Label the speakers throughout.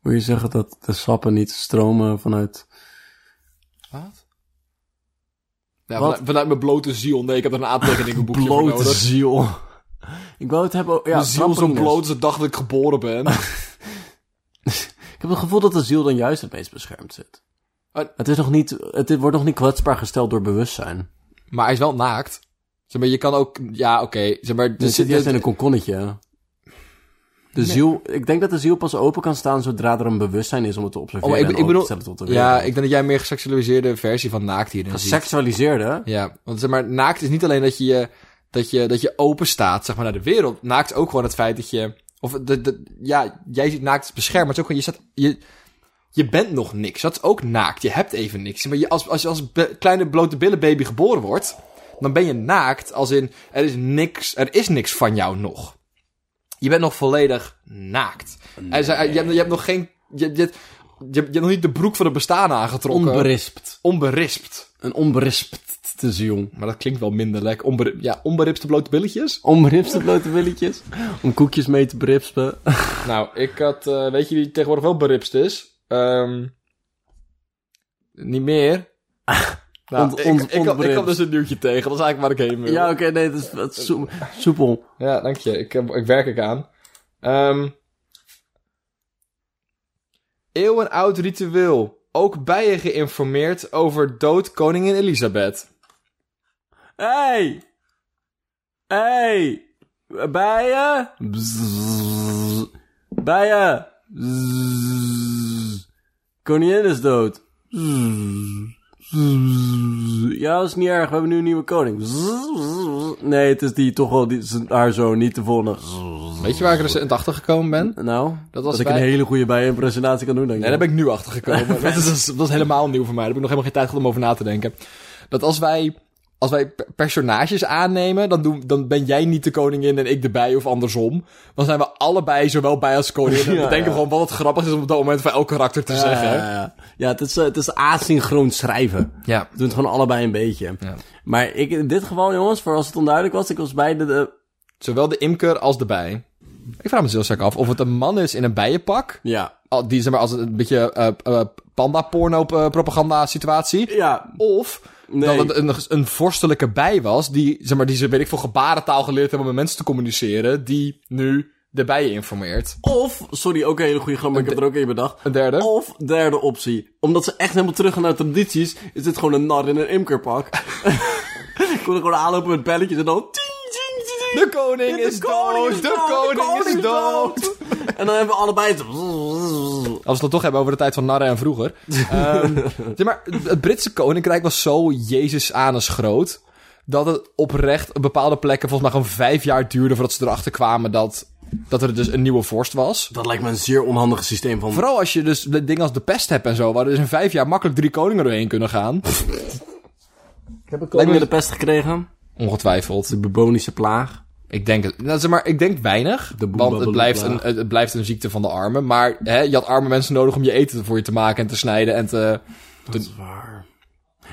Speaker 1: Wil je zeggen dat de sappen niet stromen vanuit...
Speaker 2: Wat? Ja,
Speaker 1: Wat?
Speaker 2: Vanuit, vanuit mijn blote ziel. Nee, ik heb er een aantekeningenboekje voor
Speaker 1: Blote
Speaker 2: nodig.
Speaker 1: ziel. Ik wou het hebben over... Ja,
Speaker 2: mijn ziel zo
Speaker 1: trampolines.
Speaker 2: bloot als de dag dat ik geboren ben.
Speaker 1: Ik heb het gevoel dat de ziel dan juist het meest beschermd zit.
Speaker 2: Ah.
Speaker 1: Het, is nog niet, het wordt nog niet kwetsbaar gesteld door bewustzijn.
Speaker 2: maar hij is wel naakt. Zeg maar, je kan ook... Ja, oké. Zeg maar,
Speaker 1: Dus
Speaker 2: dit-
Speaker 1: zit
Speaker 2: dit-
Speaker 1: juist in een kokonnetje. hè? De ziel, ik denk dat de ziel pas open kan staan zodra er een bewustzijn is om het te
Speaker 2: Oh,
Speaker 1: observeren.
Speaker 2: maar ik,
Speaker 1: en
Speaker 2: ik
Speaker 1: open
Speaker 2: bedoel...
Speaker 1: te stellen tot de
Speaker 2: ja,
Speaker 1: wereld.
Speaker 2: ik denk dat jij een meer geseksualiseerde versie van naakt hierin ziet.
Speaker 1: Geseksualiseerd, hè?
Speaker 2: Ja, want zeg maar, naakt is niet alleen dat je, je- dat je, dat je open staat zeg maar, naar de wereld. Naakt is ook gewoon het feit dat je... Of de, de, ja, jij ziet naakt als beschermd, maar het is ook gewoon... Je, staat, je, je bent nog niks. Dat is ook naakt. Je hebt even niks. Maar je, als, als je als be- kleine blote billenbaby geboren wordt... dan ben je naakt als in... Er is niks, er is niks van jou nog. Je bent nog volledig naakt. En ze- je, hebt, je hebt nog geen... Je, je, je, hebt- je hebt nog niet de broek van het bestaan aangetrokken.
Speaker 1: Onberispt.
Speaker 2: Onberispt.
Speaker 1: Een onberispte ziel.
Speaker 2: Maar dat klinkt wel minder lekker. Onber ja, onberipste blote billetjes.
Speaker 1: Onberispte blote willetjes. Om koekjes mee te berispen.
Speaker 2: Nou, ik had... eh, weet je wie tegenwoordig wel beripst is? Ehm, niet meer. Nou,
Speaker 1: Ont-
Speaker 2: ik-
Speaker 1: ont-
Speaker 2: ik, had- ik,
Speaker 1: ontbeript.
Speaker 2: had dus een nieuwtje tegen. Dat is eigenlijk waar ik heen wil.
Speaker 1: Ja, oké, nee, dat is, dat is soe- soepel.
Speaker 2: Ja, dank je. Ik, heb- ik werk ik aan. Ehm eeuwenoud ritueel. Ook bijen geïnformeerd over dood koningin Elisabeth.
Speaker 1: Hey! Hey! Bijen? Bzzz. Bijen? Bzzz. Koningin is dood. Bzzz. Bzzz. Ja, dat is niet erg. We hebben nu een nieuwe koning. Bzzz. Nee, het is die toch wel die, zijn- haar zoon, niet te volgen.
Speaker 2: Weet je waar ik recent achter gekomen ben?
Speaker 1: Nou,
Speaker 2: Dat
Speaker 1: dat was
Speaker 2: was
Speaker 1: dat ik
Speaker 2: bij-
Speaker 1: een hele goede bijenpresentatie kan doen, denk ik.
Speaker 2: Nee, daar ben ik nu achter gekomen. dat, is, dat, is, dat is helemaal nieuw voor mij. Daar heb ik nog helemaal geen tijd gehad om over na te denken. Dat als wij, als wij pe- personages aannemen, dan, doen, dan ben jij niet de koningin en ik de bij of andersom. Dan zijn we allebei zowel bij als koningin. En
Speaker 1: Ja,
Speaker 2: dan denken we
Speaker 1: ja.
Speaker 2: gewoon wat het grappig is om op dat moment van elk karakter te zeggen.
Speaker 1: Ja, ja. ja het, is, eh, het is asynchroon schrijven.
Speaker 2: Ja.
Speaker 1: We doen het gewoon allebei een beetje.
Speaker 2: Ja.
Speaker 1: Maar ik, in dit geval, jongens, voor als het onduidelijk was, ik was bij de... de-
Speaker 2: Zowel de imker als de bij. Ik vraag me dus heel sterk af of het een man is in een bijenpak.
Speaker 1: ja.
Speaker 2: al- Die zeg maar als een- een beetje eh panda-porno-propaganda-situatie.
Speaker 1: Ja.
Speaker 2: Of
Speaker 1: Nee.
Speaker 2: dat het een, een vorstelijke bij was, die, zeg maar, die ze, weet ik veel, gebarentaal geleerd hebben om met mensen te communiceren, die nu de bijen informeert.
Speaker 1: Of, sorry, ook een hele goede grap, maar ik heb er ook één bedacht.
Speaker 2: Een derde.
Speaker 1: Of, derde optie. Omdat ze echt helemaal terug gaan naar tradities, is dit gewoon een nar in een imkerpak. ik kon er gewoon aanlopen met belletjes en dan... ting, ting, ting, ting.
Speaker 2: De koning is dood! De koning is dood!
Speaker 1: En dan hebben we allebei... het-
Speaker 2: Als we het toch hebben over de tijd van narren en vroeger. Ehm, zeg maar, het Britse koninkrijk was zo Jezus anus groot. Dat het oprecht op bepaalde plekken volgens mij gewoon vijf jaar duurde voordat ze erachter kwamen dat, dat er dus een nieuwe vorst was.
Speaker 1: Dat lijkt me een zeer onhandig systeem van...
Speaker 2: Vooral als je dus de dingen als de pest hebt en zo, waar dus in vijf jaar makkelijk drie koningen doorheen kunnen gaan.
Speaker 1: Lijkt me de pest gekregen.
Speaker 2: Ongetwijfeld.
Speaker 1: De bebonische plaag.
Speaker 2: Ik denk, het- nou, zeg maar, ik denk weinig.
Speaker 1: De
Speaker 2: want het blijft, een,
Speaker 1: boembabbelplaag.
Speaker 2: het, het blijft een ziekte van de armen. Maar hè, je had arme mensen nodig om je eten voor je te maken en te snijden. En te,
Speaker 1: Dat is waar.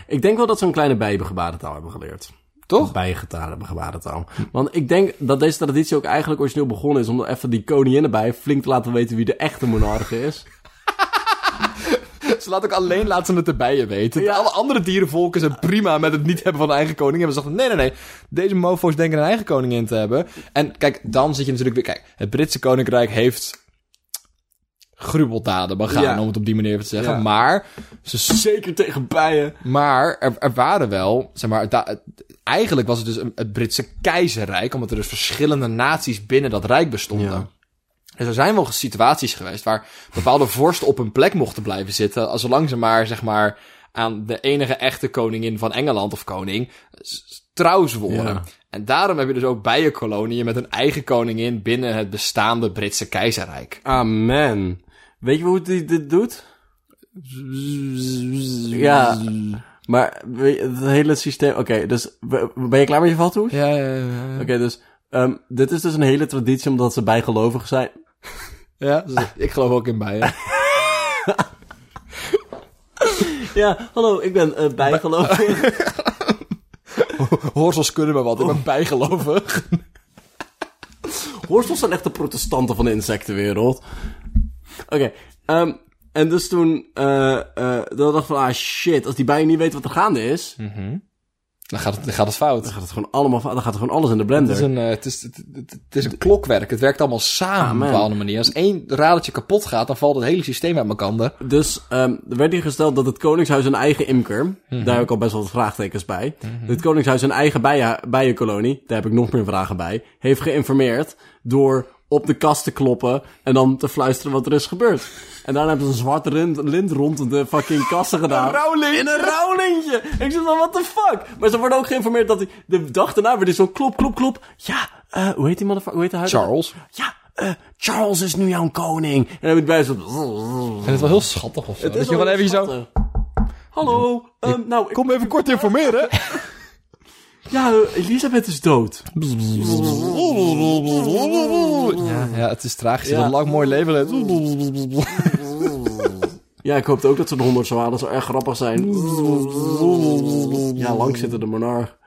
Speaker 1: Ik denk wel dat ze een kleine bijgebarentaal hebben geleerd.
Speaker 2: toch?
Speaker 1: Bijgetaal hebben gebarentaal. Want ik denk dat deze traditie ook eigenlijk origineel begonnen is... om even die koninginnenbij flink te laten weten wie de echte monarch is.
Speaker 2: Ze laat ook alleen laten het de bijen weten.
Speaker 1: Ja.
Speaker 2: Alle andere dierenvolken zijn prima met het niet hebben van een eigen koning. En we dachten, nee, nee, nee. Deze mofo's denken een eigen koningin te hebben. En kijk, dan zit je natuurlijk weer... Kijk, het Britse koninkrijk heeft gruweldaden begaan,
Speaker 1: Ja.
Speaker 2: om het op die manier te zeggen.
Speaker 1: Ja.
Speaker 2: Maar ze
Speaker 1: Zeker tegen bijen.
Speaker 2: Maar er, er waren wel, zeg maar, da- eigenlijk was het dus een- het Britse keizerrijk, omdat er dus verschillende naties binnen dat rijk bestonden.
Speaker 1: Ja.
Speaker 2: Dus er zijn wel situaties geweest waar bepaalde vorsten op hun plek mochten blijven zitten, als zolang ze maar, zeg maar, aan de enige echte koningin van Engeland of koning s- s- trouw zworen.
Speaker 1: Ja.
Speaker 2: En daarom heb je dus ook bijenkoloniën met een eigen koningin binnen het bestaande Britse keizerrijk.
Speaker 1: Amen. Weet je hoe die dit doet? Ja, maar weet je, het hele systeem... Oké, dus we- ben je klaar met je valtoes?
Speaker 2: Ja, ja, ja.
Speaker 1: Oké, dus ehm, dit is dus een hele traditie omdat ze bijgelovig zijn.
Speaker 2: ja dus ik geloof ook in bijen.
Speaker 1: Ja, hallo, ik ben eh, bijgelovig.
Speaker 2: Horsels kunnen me wat, ik ben bijgelovig.
Speaker 1: Horstels zijn echt de protestanten van de insectenwereld. Oké. ehm, en dus toen eh eh dat dacht ik van, ah shit, als die bijen niet weet wat er gaande is,
Speaker 2: Dan gaat het, dan gaat het fout.
Speaker 1: dan gaat het gewoon allemaal, fa- dan gaat er gewoon alles in de blender.
Speaker 2: Het is, een, eh, het, is, het, het- het is een klokwerk. Het werkt allemaal samen op een
Speaker 1: Amen.
Speaker 2: bepaalde manier. Als één radertje kapot gaat, dan valt het hele systeem uit elkaar.
Speaker 1: Dus ehm, er werd hier gesteld dat het Koningshuis een eigen imker.
Speaker 2: Mhm.
Speaker 1: Daar heb ik al best wel wat vraagtekens bij. Het Koningshuis een eigen bijen, bijenkolonie. Daar heb ik nog meer vragen bij. Heeft geïnformeerd door op de kast te kloppen en dan te fluisteren wat er is gebeurd. En daarna hebben ze een zwarte lint, lint rond de fucking kassen gedaan.
Speaker 2: rouwlintje.
Speaker 1: In een rouwlintje! Ik zit van, what the fuck? Maar ze worden ook geïnformeerd dat die, de dag daarna weer die zo klop, klop, klop. Ja, eh, hoe heet die motherfucker? Hoe heet de huid?
Speaker 2: Charles.
Speaker 1: Ja, eh, Charles is nu jouw koning. En dan heb ik bij zo...
Speaker 2: Ik vind het wel heel schattig of zo.
Speaker 1: Het
Speaker 2: Dat je
Speaker 1: is
Speaker 2: gewoon
Speaker 1: wel
Speaker 2: even zo...
Speaker 1: schattig. Hallo, ehm, nou, ik-
Speaker 2: Kom even kort informeren.
Speaker 1: ja, eh, Elisabeth is dood.
Speaker 2: Ja, ja, het is tragisch.
Speaker 1: Ja.
Speaker 2: Een lang mooi leven. leidt.
Speaker 1: Ja, ik hoopte ook dat ze de honderd zou halen. Dat zou erg grappig zijn. Ja, lang zitten de monarch.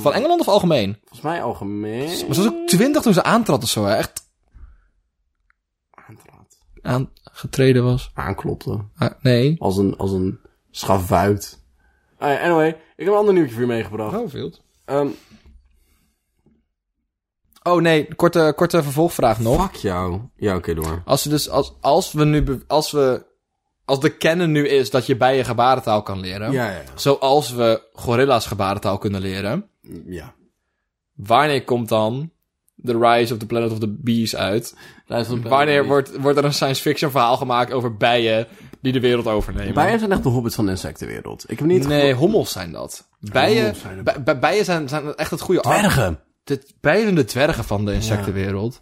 Speaker 2: Van Engeland of algemeen?
Speaker 1: Volgens mij algemeen.
Speaker 2: Maar ze was ook twintig toen ze aantrad of zo. hè. Echt
Speaker 1: Aantraad.
Speaker 2: aangetreden was.
Speaker 1: Aanklopte.
Speaker 2: Ah, nee.
Speaker 1: Als een, als een schavuit. Ah ja, anyway, ik heb een ander nieuwtje voor je meegebracht.
Speaker 2: Hoeveel?
Speaker 1: Ehm,
Speaker 2: Oh nee, korte, korte vervolgvraag nog.
Speaker 1: fuck jou. Ja, oké, door.
Speaker 2: Als, ze dus, als, als we nu... be- Als we... Als de kennen nu is dat je bij je gebarentaal kan leren.
Speaker 1: Ja, ja, ja.
Speaker 2: Zoals we gorilla's gebarentaal kunnen leren.
Speaker 1: ja.
Speaker 2: Wanneer komt dan The Rise of the Planet of the Bees uit? Wanneer wordt, wordt er een science fiction verhaal gemaakt over bijen die de wereld overnemen?
Speaker 1: Bijen zijn echt de hobbits van de insectenwereld. Ik heb niet...
Speaker 2: Nee, hommels zijn dat. Bijen,
Speaker 1: Hommels zijn het.
Speaker 2: bij- bij- bijen zijn, zijn echt het goede... ar-
Speaker 1: Dwergen.
Speaker 2: De, bijen zijn de dwergen van de insectenwereld.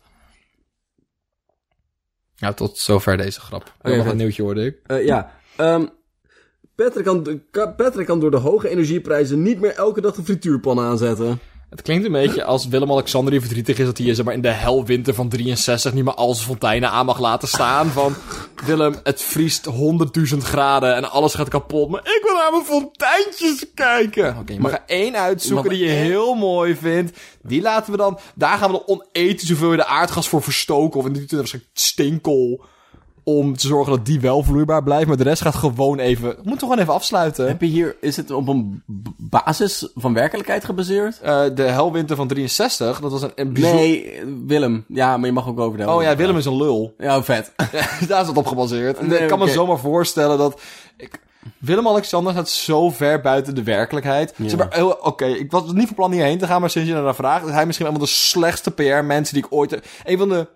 Speaker 2: Ja, tot zover deze grap.
Speaker 1: Oké,
Speaker 2: nog
Speaker 1: goed.
Speaker 2: een nieuwtje hoorde ik.
Speaker 1: Eh, ja. Ehm, Patrick, kan, ka- Patrick kan door de hoge energieprijzen niet meer elke dag de frituurpan aanzetten.
Speaker 2: Het klinkt een beetje als Willem-Alexander die verdrietig is dat hij zeg maar, in de helwinter van 63 niet meer al zijn fonteinen aan mag laten staan. Van Willem, het vriest 100.000 graden en alles gaat kapot. Maar ik wil naar mijn fonteintjes kijken. Oké, je mag er één uitzoeken die je heel mooi vindt. Die laten we dan. Daar gaan we dan onethisch hoeveel je de aardgas voor verstoken. Of in die doet er waarschijnlijk stinkel. Om te zorgen dat die wel vloeibaar blijft. Maar de rest gaat gewoon even. Moet toch gewoon even afsluiten.
Speaker 1: Heb je hier, is het op een b- basis van werkelijkheid gebaseerd?
Speaker 2: Eh, de helwinter van 63, dat was een, een bijzonder.
Speaker 1: Nee, eh, Willem. Ja, maar je mag ook over de
Speaker 2: Oh ja, Willem is een lul.
Speaker 1: Ja, vet.
Speaker 2: Daar is het op gebaseerd.
Speaker 1: Nee,
Speaker 2: ik kan me
Speaker 1: oké.
Speaker 2: zomaar voorstellen dat... Ik, Willem-Alexander staat zo ver buiten de werkelijkheid. Zeg maar, heel- Oké, ik was niet van plan hierheen te gaan, maar sinds je naar vraagt... is hij misschien een van de slechtste PR-mensen die ik ooit... heb- Een van de...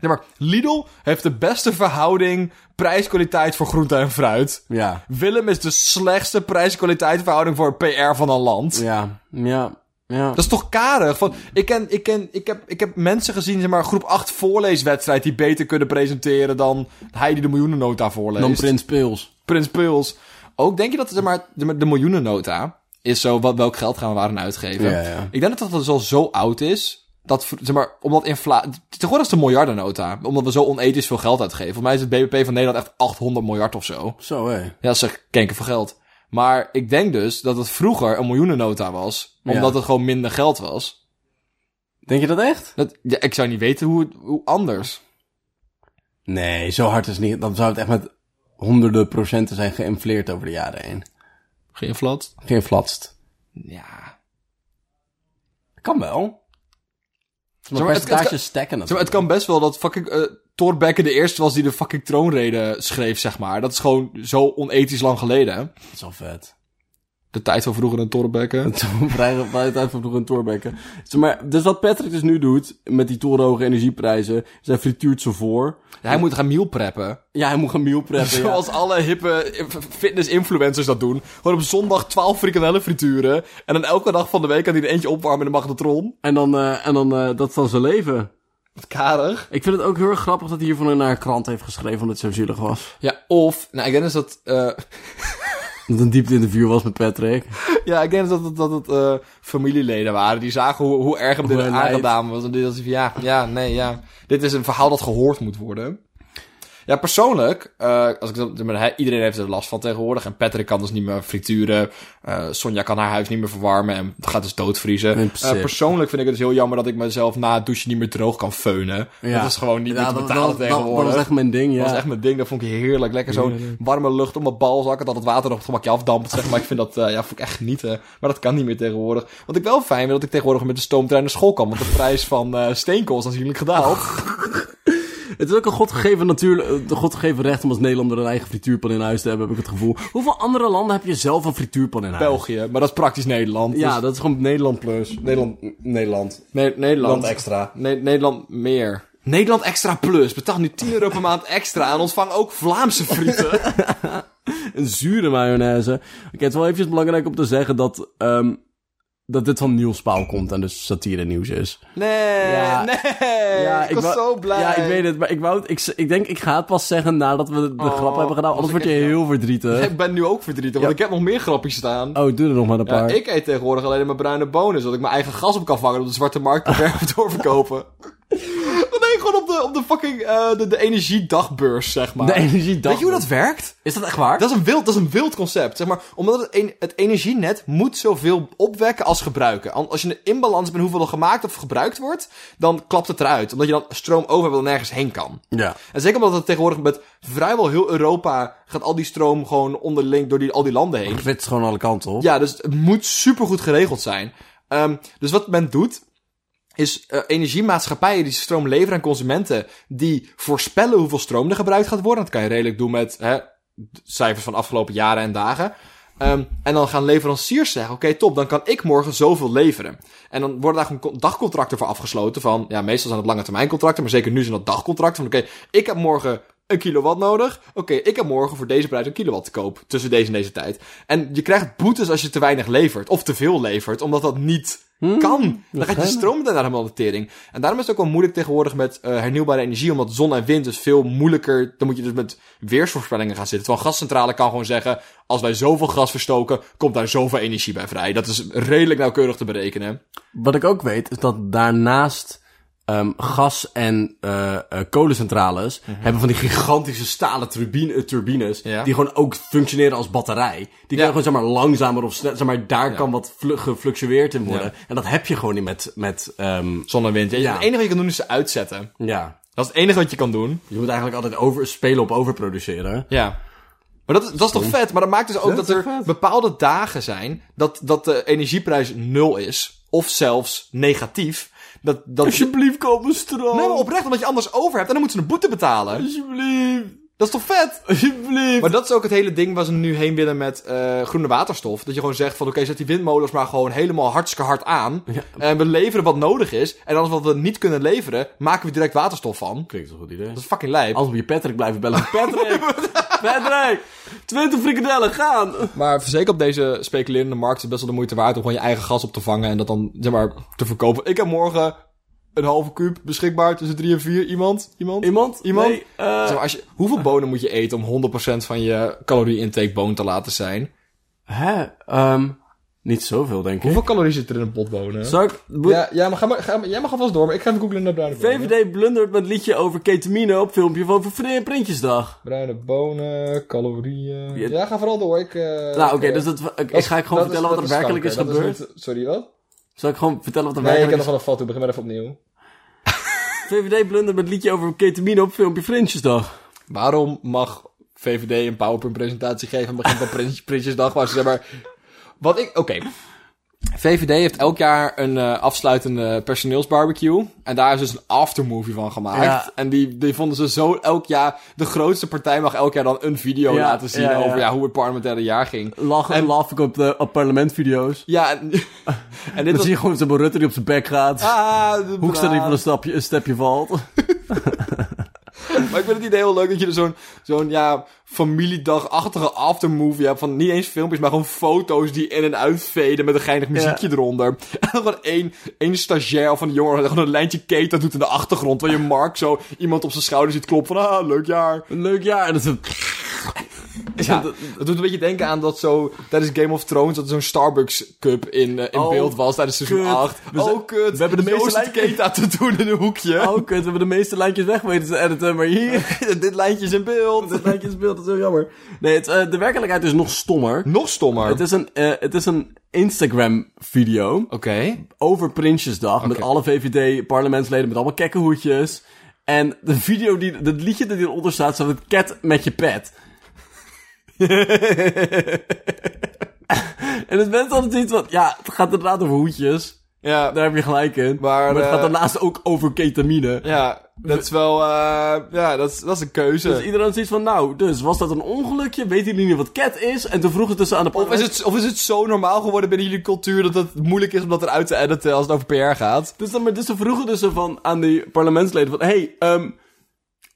Speaker 2: Zeg maar, Lidl heeft de beste verhouding prijs-kwaliteit voor groente en fruit.
Speaker 1: Ja.
Speaker 2: Willem is de slechtste prijs-kwaliteit verhouding voor PR van een land.
Speaker 1: Ja. Ja. Ja.
Speaker 2: Dat is toch karig? Van, ik, ken, ik, ken, ik, heb, ik heb mensen gezien, zeg maar, groep 8 voorleeswedstrijd... die beter kunnen presenteren dan hij die de miljoenennota voorleest.
Speaker 1: Dan Prins Pils.
Speaker 2: Prins Pils. Ook denk je dat zeg maar, de, de miljoenennota is zo... Wat, welk geld gaan we waar aan uitgeven?
Speaker 1: Ja, ja.
Speaker 2: Ik denk dat dat dus al zo oud is... Dat, v- zeg maar, omdat inflatie... Tegenwoordig is het een miljardennota. Omdat we zo onethisch veel geld uitgeven. Voor mij is het BBP van Nederland echt 800 miljard of zo.
Speaker 1: Zo, hé.
Speaker 2: Ja, dat is echt kenker voor geld. Maar ik denk dus dat het vroeger een miljoenennota was.
Speaker 1: Ja.
Speaker 2: Omdat het gewoon minder geld was.
Speaker 1: Denk je dat echt?
Speaker 2: Dat, ja, ik zou niet weten hoe, het- hoe anders.
Speaker 1: Nee, zo hard is het niet. Dan zou het echt met honderden procenten zijn geïnfleerd over de jaren heen.
Speaker 2: Geïnflat?
Speaker 1: Geïnflatst.
Speaker 2: Ja.
Speaker 1: Kan wel.
Speaker 2: maar,
Speaker 1: Maar
Speaker 2: het- het
Speaker 1: percentages
Speaker 2: kan-
Speaker 1: stekken
Speaker 2: Zeg maar, het kan best wel dat fucking eh Thorbecke de eerste was die de fucking troonrede schreef, zeg maar. Dat is gewoon zo onethisch lang geleden. hè?
Speaker 1: Dat is wel vet.
Speaker 2: De tijd van vroeger een Thorbecke.
Speaker 1: Toen vrij tijd uit van een Thorbecke. Zeg maar, dus wat Patrick dus nu doet, met die torenhoge energieprijzen, is hij frituurt ze voor.
Speaker 2: Hij moet gaan meal preppen.
Speaker 1: Ja, hij moet gaan meal preppen, ja.
Speaker 2: Zoals alle hippe eh, fitness-influencers dat doen. Gewoon op zondag 12 frikandellen frituren. En dan elke dag van de week kan hij er eentje opwarmen in de magnetron.
Speaker 1: En dan, eh, en dan eh, dat is dan zijn leven.
Speaker 2: Wat karig.
Speaker 1: Ik vind het ook heel erg grappig dat hij hiervan naar een krant heeft geschreven, omdat het zo zielig was.
Speaker 2: Ja, of... Nou, ik denk dus dat... eh,
Speaker 1: Dat het een diepte interview was met Patrick.
Speaker 2: Ja, ik denk dat het, dat het eh, familieleden waren. Die zagen hoe, hoe erg hem dit
Speaker 1: Hoe hij
Speaker 2: aangedaan was. En dit was van, ja, ja, nee, ja. Dit is een verhaal dat gehoord moet worden. Ja, persoonlijk, eh, als ik, dat- maar hij- iedereen heeft er last van tegenwoordig. En Patrick kan dus niet meer frituren. eh, Sonja kan haar huis niet meer verwarmen en gaat dus doodvriezen.
Speaker 1: Nee,
Speaker 2: Eh,
Speaker 1: precies.
Speaker 2: persoonlijk vind ik het dus heel jammer dat ik mezelf na het douchen niet meer droog kan feunen.
Speaker 1: Ja.
Speaker 2: Dat is gewoon niet meer te betalen
Speaker 1: dat, dat,
Speaker 2: tegenwoordig.
Speaker 1: dat was echt mijn ding, ja.
Speaker 2: Dat was echt mijn ding. Dat vond ik heerlijk. Lekker zo'n warme lucht op mijn balzakken. Dat het water nog op het gemakje afdampt. Zeg maar ik vind dat eh, ja, vond ik echt genieten. Maar dat kan niet meer tegenwoordig. Wat ik wel fijn vind, dat ik tegenwoordig met de stoomtrein naar school kan. Want de prijs van eh steenkool is aanzienlijk gedaald.
Speaker 1: Het is ook een godgegeven, natuur, een godgegeven recht om als Nederlander een eigen frituurpan in huis te hebben, heb ik het gevoel. Hoeveel andere landen heb je zelf een frituurpan in huis?
Speaker 2: België. Maar dat is praktisch Nederland.
Speaker 1: Ja,
Speaker 2: Dus
Speaker 1: dat is gewoon Nederland plus.
Speaker 2: Nederland. Nederland. Ne- Nederland.
Speaker 1: extra.
Speaker 2: Ne- Nederland meer. Nederland extra plus. Betaal nu 10 euro per maand extra. En ontvang ook Vlaamse frieten.
Speaker 1: Een zure mayonaise. Oké, het is wel eventjes belangrijk om te zeggen dat, ehm, dat dit van Niels Pauw komt en dus satire nieuws is.
Speaker 2: Nee.
Speaker 1: Ja.
Speaker 2: Nee. ik was
Speaker 1: wou-
Speaker 2: zo blij.
Speaker 1: Ja, ik weet het, maar ik, wou, het- ik, z- ik denk ik ga het pas zeggen nadat we de
Speaker 2: Oh,
Speaker 1: grap hebben gedaan,
Speaker 2: was
Speaker 1: anders
Speaker 2: ik
Speaker 1: word je
Speaker 2: echt-
Speaker 1: heel verdrietig.
Speaker 2: Ik ben nu ook verdrietig, want ik heb nog meer grapjes staan.
Speaker 1: Oh, doe er nog maar een
Speaker 2: Ja,
Speaker 1: paar.
Speaker 2: ik eet tegenwoordig alleen mijn bruine bonen, zodat ik mijn eigen gas op kan vangen en op de zwarte markt kan ver- doorverkopen. Want nee, gewoon op de, op de fucking eh, de, de energiedagbeurs, zeg maar.
Speaker 1: De energiedag.
Speaker 2: Weet je hoe dat werkt?
Speaker 1: Is dat echt waar?
Speaker 2: Dat is, een wild, dat is een wild concept, zeg maar. Omdat het, en- het energienet moet zoveel opwekken als gebruiken. An- Als je in balans bent hoeveel er gemaakt of gebruikt wordt, dan klapt het eruit. Omdat je dan stroom over hebt dat nergens heen kan.
Speaker 1: Ja.
Speaker 2: En zeker omdat het tegenwoordig met vrijwel heel Europa gaat al die stroom gewoon onderling door die, al die landen heen.
Speaker 1: Dit is gewoon alle kanten op.
Speaker 2: Ja, dus het moet supergoed geregeld zijn. Ehm, dus wat men doet, is eh, energiemaatschappijen die stroom leveren aan consumenten, die voorspellen hoeveel stroom er gebruikt gaat worden. Dat kan je redelijk doen met hè, de cijfers van afgelopen jaren en dagen. Ehm, en dan gaan leveranciers zeggen, oké top, dan kan ik morgen zoveel leveren. En dan worden daar gewoon con- dagcontracten voor afgesloten van, ja meestal zijn dat lange termijn contracten, maar zeker nu zijn dat dagcontracten van oké, ik heb morgen een kilowatt nodig. Oké, ik heb morgen voor deze prijs een kilowatt te koop. Tussen deze en deze tijd. En je krijgt boetes Dus als je te weinig levert. Of te veel levert. Omdat dat niet kan. Dan gaat je stroom daarna helemaal de tering. En daarom is het ook wel moeilijk tegenwoordig met eh, hernieuwbare energie. Omdat zon en wind is veel moeilijker. Dan moet je dus met weersvoorspellingen gaan zitten. Terwijl een gascentrale kan gewoon zeggen... Als wij zoveel gas verstoken, komt daar zoveel energie bij vrij. Dat is redelijk nauwkeurig te berekenen.
Speaker 1: Wat ik ook weet, is dat daarnaast ehm, gas- en eh, eh, kolencentrales hebben van die gigantische stalen turbine, eh, turbines.
Speaker 2: Mhm. Ja.
Speaker 1: Die gewoon ook functioneren als batterij. Die kunnen gewoon zeg maar, langzamer of sneller. Zeg maar, daar kan wat vlu- gefluctueerd in worden. En dat heb je gewoon niet met. met ehm,
Speaker 2: Zon en wind.
Speaker 1: Ja.
Speaker 2: Het enige wat je kan doen is ze uitzetten.
Speaker 1: ja.
Speaker 2: Dat is het enige wat je kan doen.
Speaker 1: Je moet eigenlijk altijd over, spelen op overproduceren.
Speaker 2: Ja. Maar dat, is- dat is toch vet? Maar dat maakt dus ook
Speaker 1: Dat is
Speaker 2: dat er
Speaker 1: toch vet?
Speaker 2: bepaalde dagen zijn dat, dat de energieprijs nul is. Of zelfs negatief. Dat, dat je...
Speaker 1: Alsjeblieft, koop me stroom.
Speaker 2: Nee, maar oprecht, omdat je anders over hebt en dan moeten ze een boete betalen.
Speaker 1: Alsjeblieft.
Speaker 2: Dat is toch vet?
Speaker 1: Alsjeblieft.
Speaker 2: Maar dat is ook het hele ding waar ze nu heen willen met eh, groene waterstof. Dat je gewoon zegt van oké, zet die windmolens maar gewoon helemaal hartstikke hard aan. En we leveren wat nodig is. En alles wat we niet kunnen leveren, maken we direct waterstof van.
Speaker 1: Klinkt een goed idee.
Speaker 2: Dat is fucking lijp.
Speaker 1: Als we je Patrick blijven bellen. Patrick! Patrick! Twintig frikadellen, gaan!
Speaker 2: Maar zeker op deze speculerende markt is het best wel de moeite waard om gewoon je eigen gas op te vangen en dat dan zeg maar te verkopen. Ik heb morgen een halve kuub beschikbaar tussen drie en vier. Iemand? Iemand?
Speaker 1: Iemand?
Speaker 2: Iemand?
Speaker 1: Nee, eh,
Speaker 2: Zeg maar, als je, hoeveel bonen moet je eten om 100% van je calorie intake boon te laten zijn?
Speaker 1: Hè? Ehm niet zoveel, denk ik.
Speaker 2: Hoeveel calorie zit er in een pot bonen?
Speaker 1: Zal ik... boe-
Speaker 2: Ja, ja, maar ga maar, ga maar, jij mag alvast door, maar ik ga even googlen naar bruine bonen.
Speaker 1: VVD blundert met liedje over ketamine op filmpje van Vri- Printjesdag.
Speaker 2: Bruine bonen, calorieën.
Speaker 1: Ja.
Speaker 2: Ja, ga vooral door. Ik, eh,
Speaker 1: nou, oké,
Speaker 2: eh,
Speaker 1: dus dat, ik,
Speaker 2: dat is-
Speaker 1: ga ik gewoon
Speaker 2: dat
Speaker 1: vertellen wat
Speaker 2: dat
Speaker 1: er werkelijk is,
Speaker 2: kanker. Dat
Speaker 1: gebeurd.
Speaker 2: niet- sorry, wat?
Speaker 1: Zal ik gewoon vertellen wat er
Speaker 2: Nee, ik heb
Speaker 1: werkelijk
Speaker 2: nog
Speaker 1: is
Speaker 2: wel een fout toe. Begin maar even opnieuw.
Speaker 1: VVD blundert met liedje over ketamine op filmpje Printjesdag.
Speaker 2: Waarom mag VVD een PowerPoint-presentatie geven aan het begin van Prins- Prinsjesdag? Waar ze zeg maar... Wat ik... Oké. VVD heeft elk jaar een eh, afsluitende personeelsbarbecue. En daar is dus een aftermovie van gemaakt.
Speaker 1: Ja.
Speaker 2: En die, die vonden ze zo elk jaar... De grootste partij mag elk jaar dan een video
Speaker 1: Ja,
Speaker 2: laten zien
Speaker 1: ja, ja.
Speaker 2: over ja, hoe het parlementaire jaar ging.
Speaker 1: Lachen en laf ik op, de, op parlementvideo's.
Speaker 2: Ja, en,
Speaker 1: Dan
Speaker 2: en dit
Speaker 1: zie
Speaker 2: was...
Speaker 1: je gewoon zo'n Rutte die op zijn bek gaat.
Speaker 2: Ah, de
Speaker 1: Hoekstra die
Speaker 2: braaf.
Speaker 1: van een, stapje, een stepje valt.
Speaker 2: Maar ik vind het idee heel leuk dat je er zo'n zo'n ja, familiedagachtige aftermovie hebt. Van niet eens filmpjes, maar gewoon foto's die in en uit veden met een geinig muziekje eronder. En dan gewoon één, één stagiair van de jongeren dat gewoon een lijntje keten doet in de achtergrond. Terwijl je Mark zo iemand op zijn schouder ziet kloppen van ah, leuk jaar.
Speaker 1: Een leuk jaar. En dat is een...
Speaker 2: Ja,
Speaker 1: dat-
Speaker 2: dat doet een beetje denken aan dat zo tijdens Game of Thrones dat er zo'n Starbucks cup in, eh, in
Speaker 1: Oh,
Speaker 2: beeld was tijdens seizoen
Speaker 1: kut.
Speaker 2: 8.
Speaker 1: We zijn-
Speaker 2: oh kut,
Speaker 1: we hebben de meeste
Speaker 2: Joost
Speaker 1: lijken.
Speaker 2: Keita te doen in een hoekje.
Speaker 1: Oh, kut, we hebben de meeste lijntjes weg weten te editen, maar hier...
Speaker 2: Dit lijntje is in beeld.
Speaker 1: Dit lijntje is beeld, dat is heel jammer. Nee, het, eh, de werkelijkheid is nog stommer.
Speaker 2: Nog stommer.
Speaker 1: Het
Speaker 2: Oké.
Speaker 1: is een, eh, het is een Instagram-video over Prinsjesdag. Met
Speaker 2: Oké.
Speaker 1: alle VVD-parlementsleden met allemaal kekkenhoedjes. En de video, die, het liedje dat hieronder staat, staat het cat met je pet. en het bent altijd iets wat, ja, het gaat inderdaad over hoedjes.
Speaker 2: Ja,
Speaker 1: Daar heb je gelijk in.
Speaker 2: Maar,
Speaker 1: het
Speaker 2: eh,
Speaker 1: gaat daarnaast ook over ketamine.
Speaker 2: ja, dat is wel... eh, ja, dat is, dat is een keuze.
Speaker 1: Dus iedereen zoiets van, nou, dus was dat een ongelukje? Weten jullie niet wat cat is? En toen vroeg het dus aan de
Speaker 2: Of is, het, of is het zo normaal geworden binnen jullie cultuur dat het moeilijk is om dat eruit te editen als het over PR gaat?
Speaker 1: Dus, dan, maar dus ze vroegen dus zo van, aan die parlementsleden van... Hey, ehm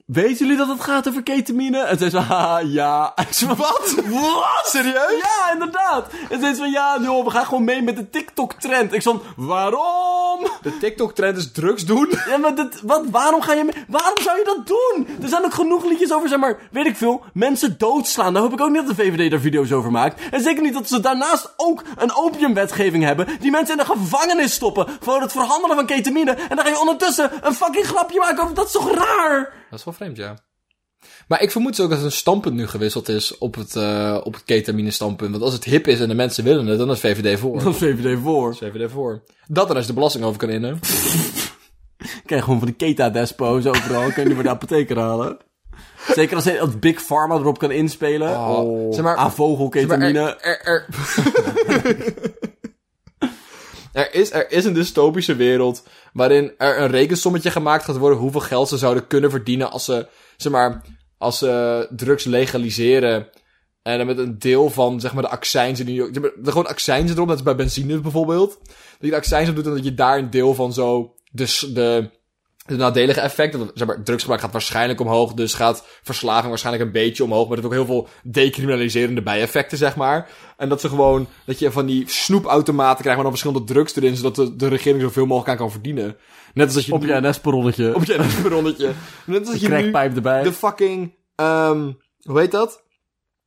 Speaker 1: weten jullie dat het gaat over ketamine? En zij zei, haha, ja. En ik zei, wat? Wat?
Speaker 2: Serieus?
Speaker 1: Ja, inderdaad. En zei ze van, ja, joh, we gaan gewoon mee met de TikTok-trend. Ik zei, waarom?
Speaker 2: De TikTok-trend is drugs doen.
Speaker 1: Ja, maar dit, wat, waarom ga je mee? Waarom zou je dat doen? Er zijn ook genoeg liedjes over, zeg maar, weet ik veel, mensen doodslaan. Daar hoop ik ook niet dat de VVD daar video's over maakt. En zeker niet dat ze daarnaast ook een opiumwetgeving hebben die mensen in de gevangenis stoppen voor het verhandelen van ketamine. En dan ga je ondertussen een fucking grapje maken over, dat is toch raar?
Speaker 2: Dat is wel vreemd, ja. Maar ik vermoed dus ook dat hun standpunt nu gewisseld is op het, eh, op het ketamine-standpunt. Want als het hip is en de mensen willen het, dan is VVD voor.
Speaker 1: Dat is VVD voor.
Speaker 2: VVD voor. Dat dan als je de belasting over kan innen.
Speaker 1: Krijg gewoon van de keta-despo's overal, kun je die bij de apotheker halen. Zeker als, als Big Pharma erop kan inspelen.
Speaker 2: Oh. Zeg maar- eh,
Speaker 1: aan vogelketamine.
Speaker 2: er, er, er... Er is, er is een dystopische wereld waarin er een rekensommetje gemaakt gaat worden hoeveel geld ze zouden kunnen verdienen als ze, zeg maar, als ze drugs legaliseren. En dan met een deel van, zeg maar, de accijnzen die... zeg maar, er gewoon accijnzen erop, dat is bij benzine bijvoorbeeld. Dat je de accijns op doet en dat je daar een deel van zo... De, s- de, de nadelige effecten, want, zeg maar, drugsgebruik gaat waarschijnlijk omhoog, dus gaat verslaving waarschijnlijk een beetje omhoog, maar het heeft ook heel veel decriminaliserende bijeffecten, zeg maar. En dat ze gewoon, dat je van die snoepautomaten krijgt, maar dan verschillende drugs erin, zodat de, de regering zoveel mogelijk aan kan verdienen. Net als dat je
Speaker 1: op
Speaker 2: nu-
Speaker 1: je NS-perrolletje.
Speaker 2: op je NS-perronnetje. Net als dat je nu
Speaker 1: Crackpijp erbij.
Speaker 2: de fucking, ehm, hoe heet dat?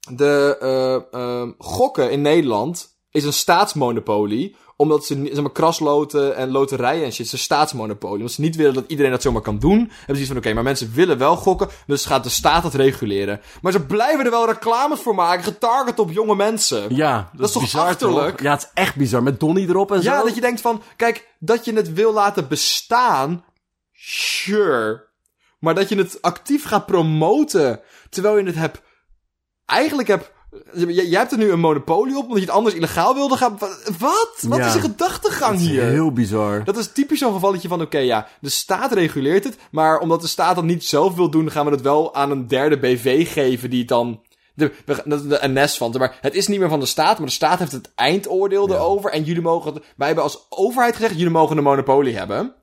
Speaker 2: De eh, ehm, gokken in Nederland is een staatsmonopolie. Omdat ze, niet- zeg maar, krasloten en loterijen en shit, is een staatsmonopolie. Omdat ze niet willen dat iedereen dat zomaar kan doen. Hebben ze zoiets van, oké, maar mensen willen wel gokken, dus gaat de staat dat reguleren. Maar ze blijven er wel reclames voor maken, getarget op jonge mensen.
Speaker 1: Ja, dat,
Speaker 2: is toch achterlijk?
Speaker 1: toch? Ja, het is echt bizar. Met Donnie erop en
Speaker 2: Ja,
Speaker 1: zo.
Speaker 2: dat je denkt van, kijk, dat je het wil laten bestaan, sure. Maar dat je het actief gaat promoten, terwijl je het hebt, eigenlijk hebt, j- jij hebt er nu een monopolie op, omdat je het anders illegaal wilde gaan, wa- wat? Wat
Speaker 1: Ja.
Speaker 2: is de gedachtegang
Speaker 1: is
Speaker 2: hier?
Speaker 1: heel bizar.
Speaker 2: Dat is typisch zo'n gevalletje van, oké ja, de staat reguleert het, maar omdat de staat dat niet zelf wil doen, gaan we het wel aan een derde BV geven die het dan... De, we- de, de NS van, maar het is niet meer van de staat, maar de staat heeft het eindoordeel erover en jullie mogen... het- Wij hebben als overheid gezegd, jullie mogen een monopolie hebben.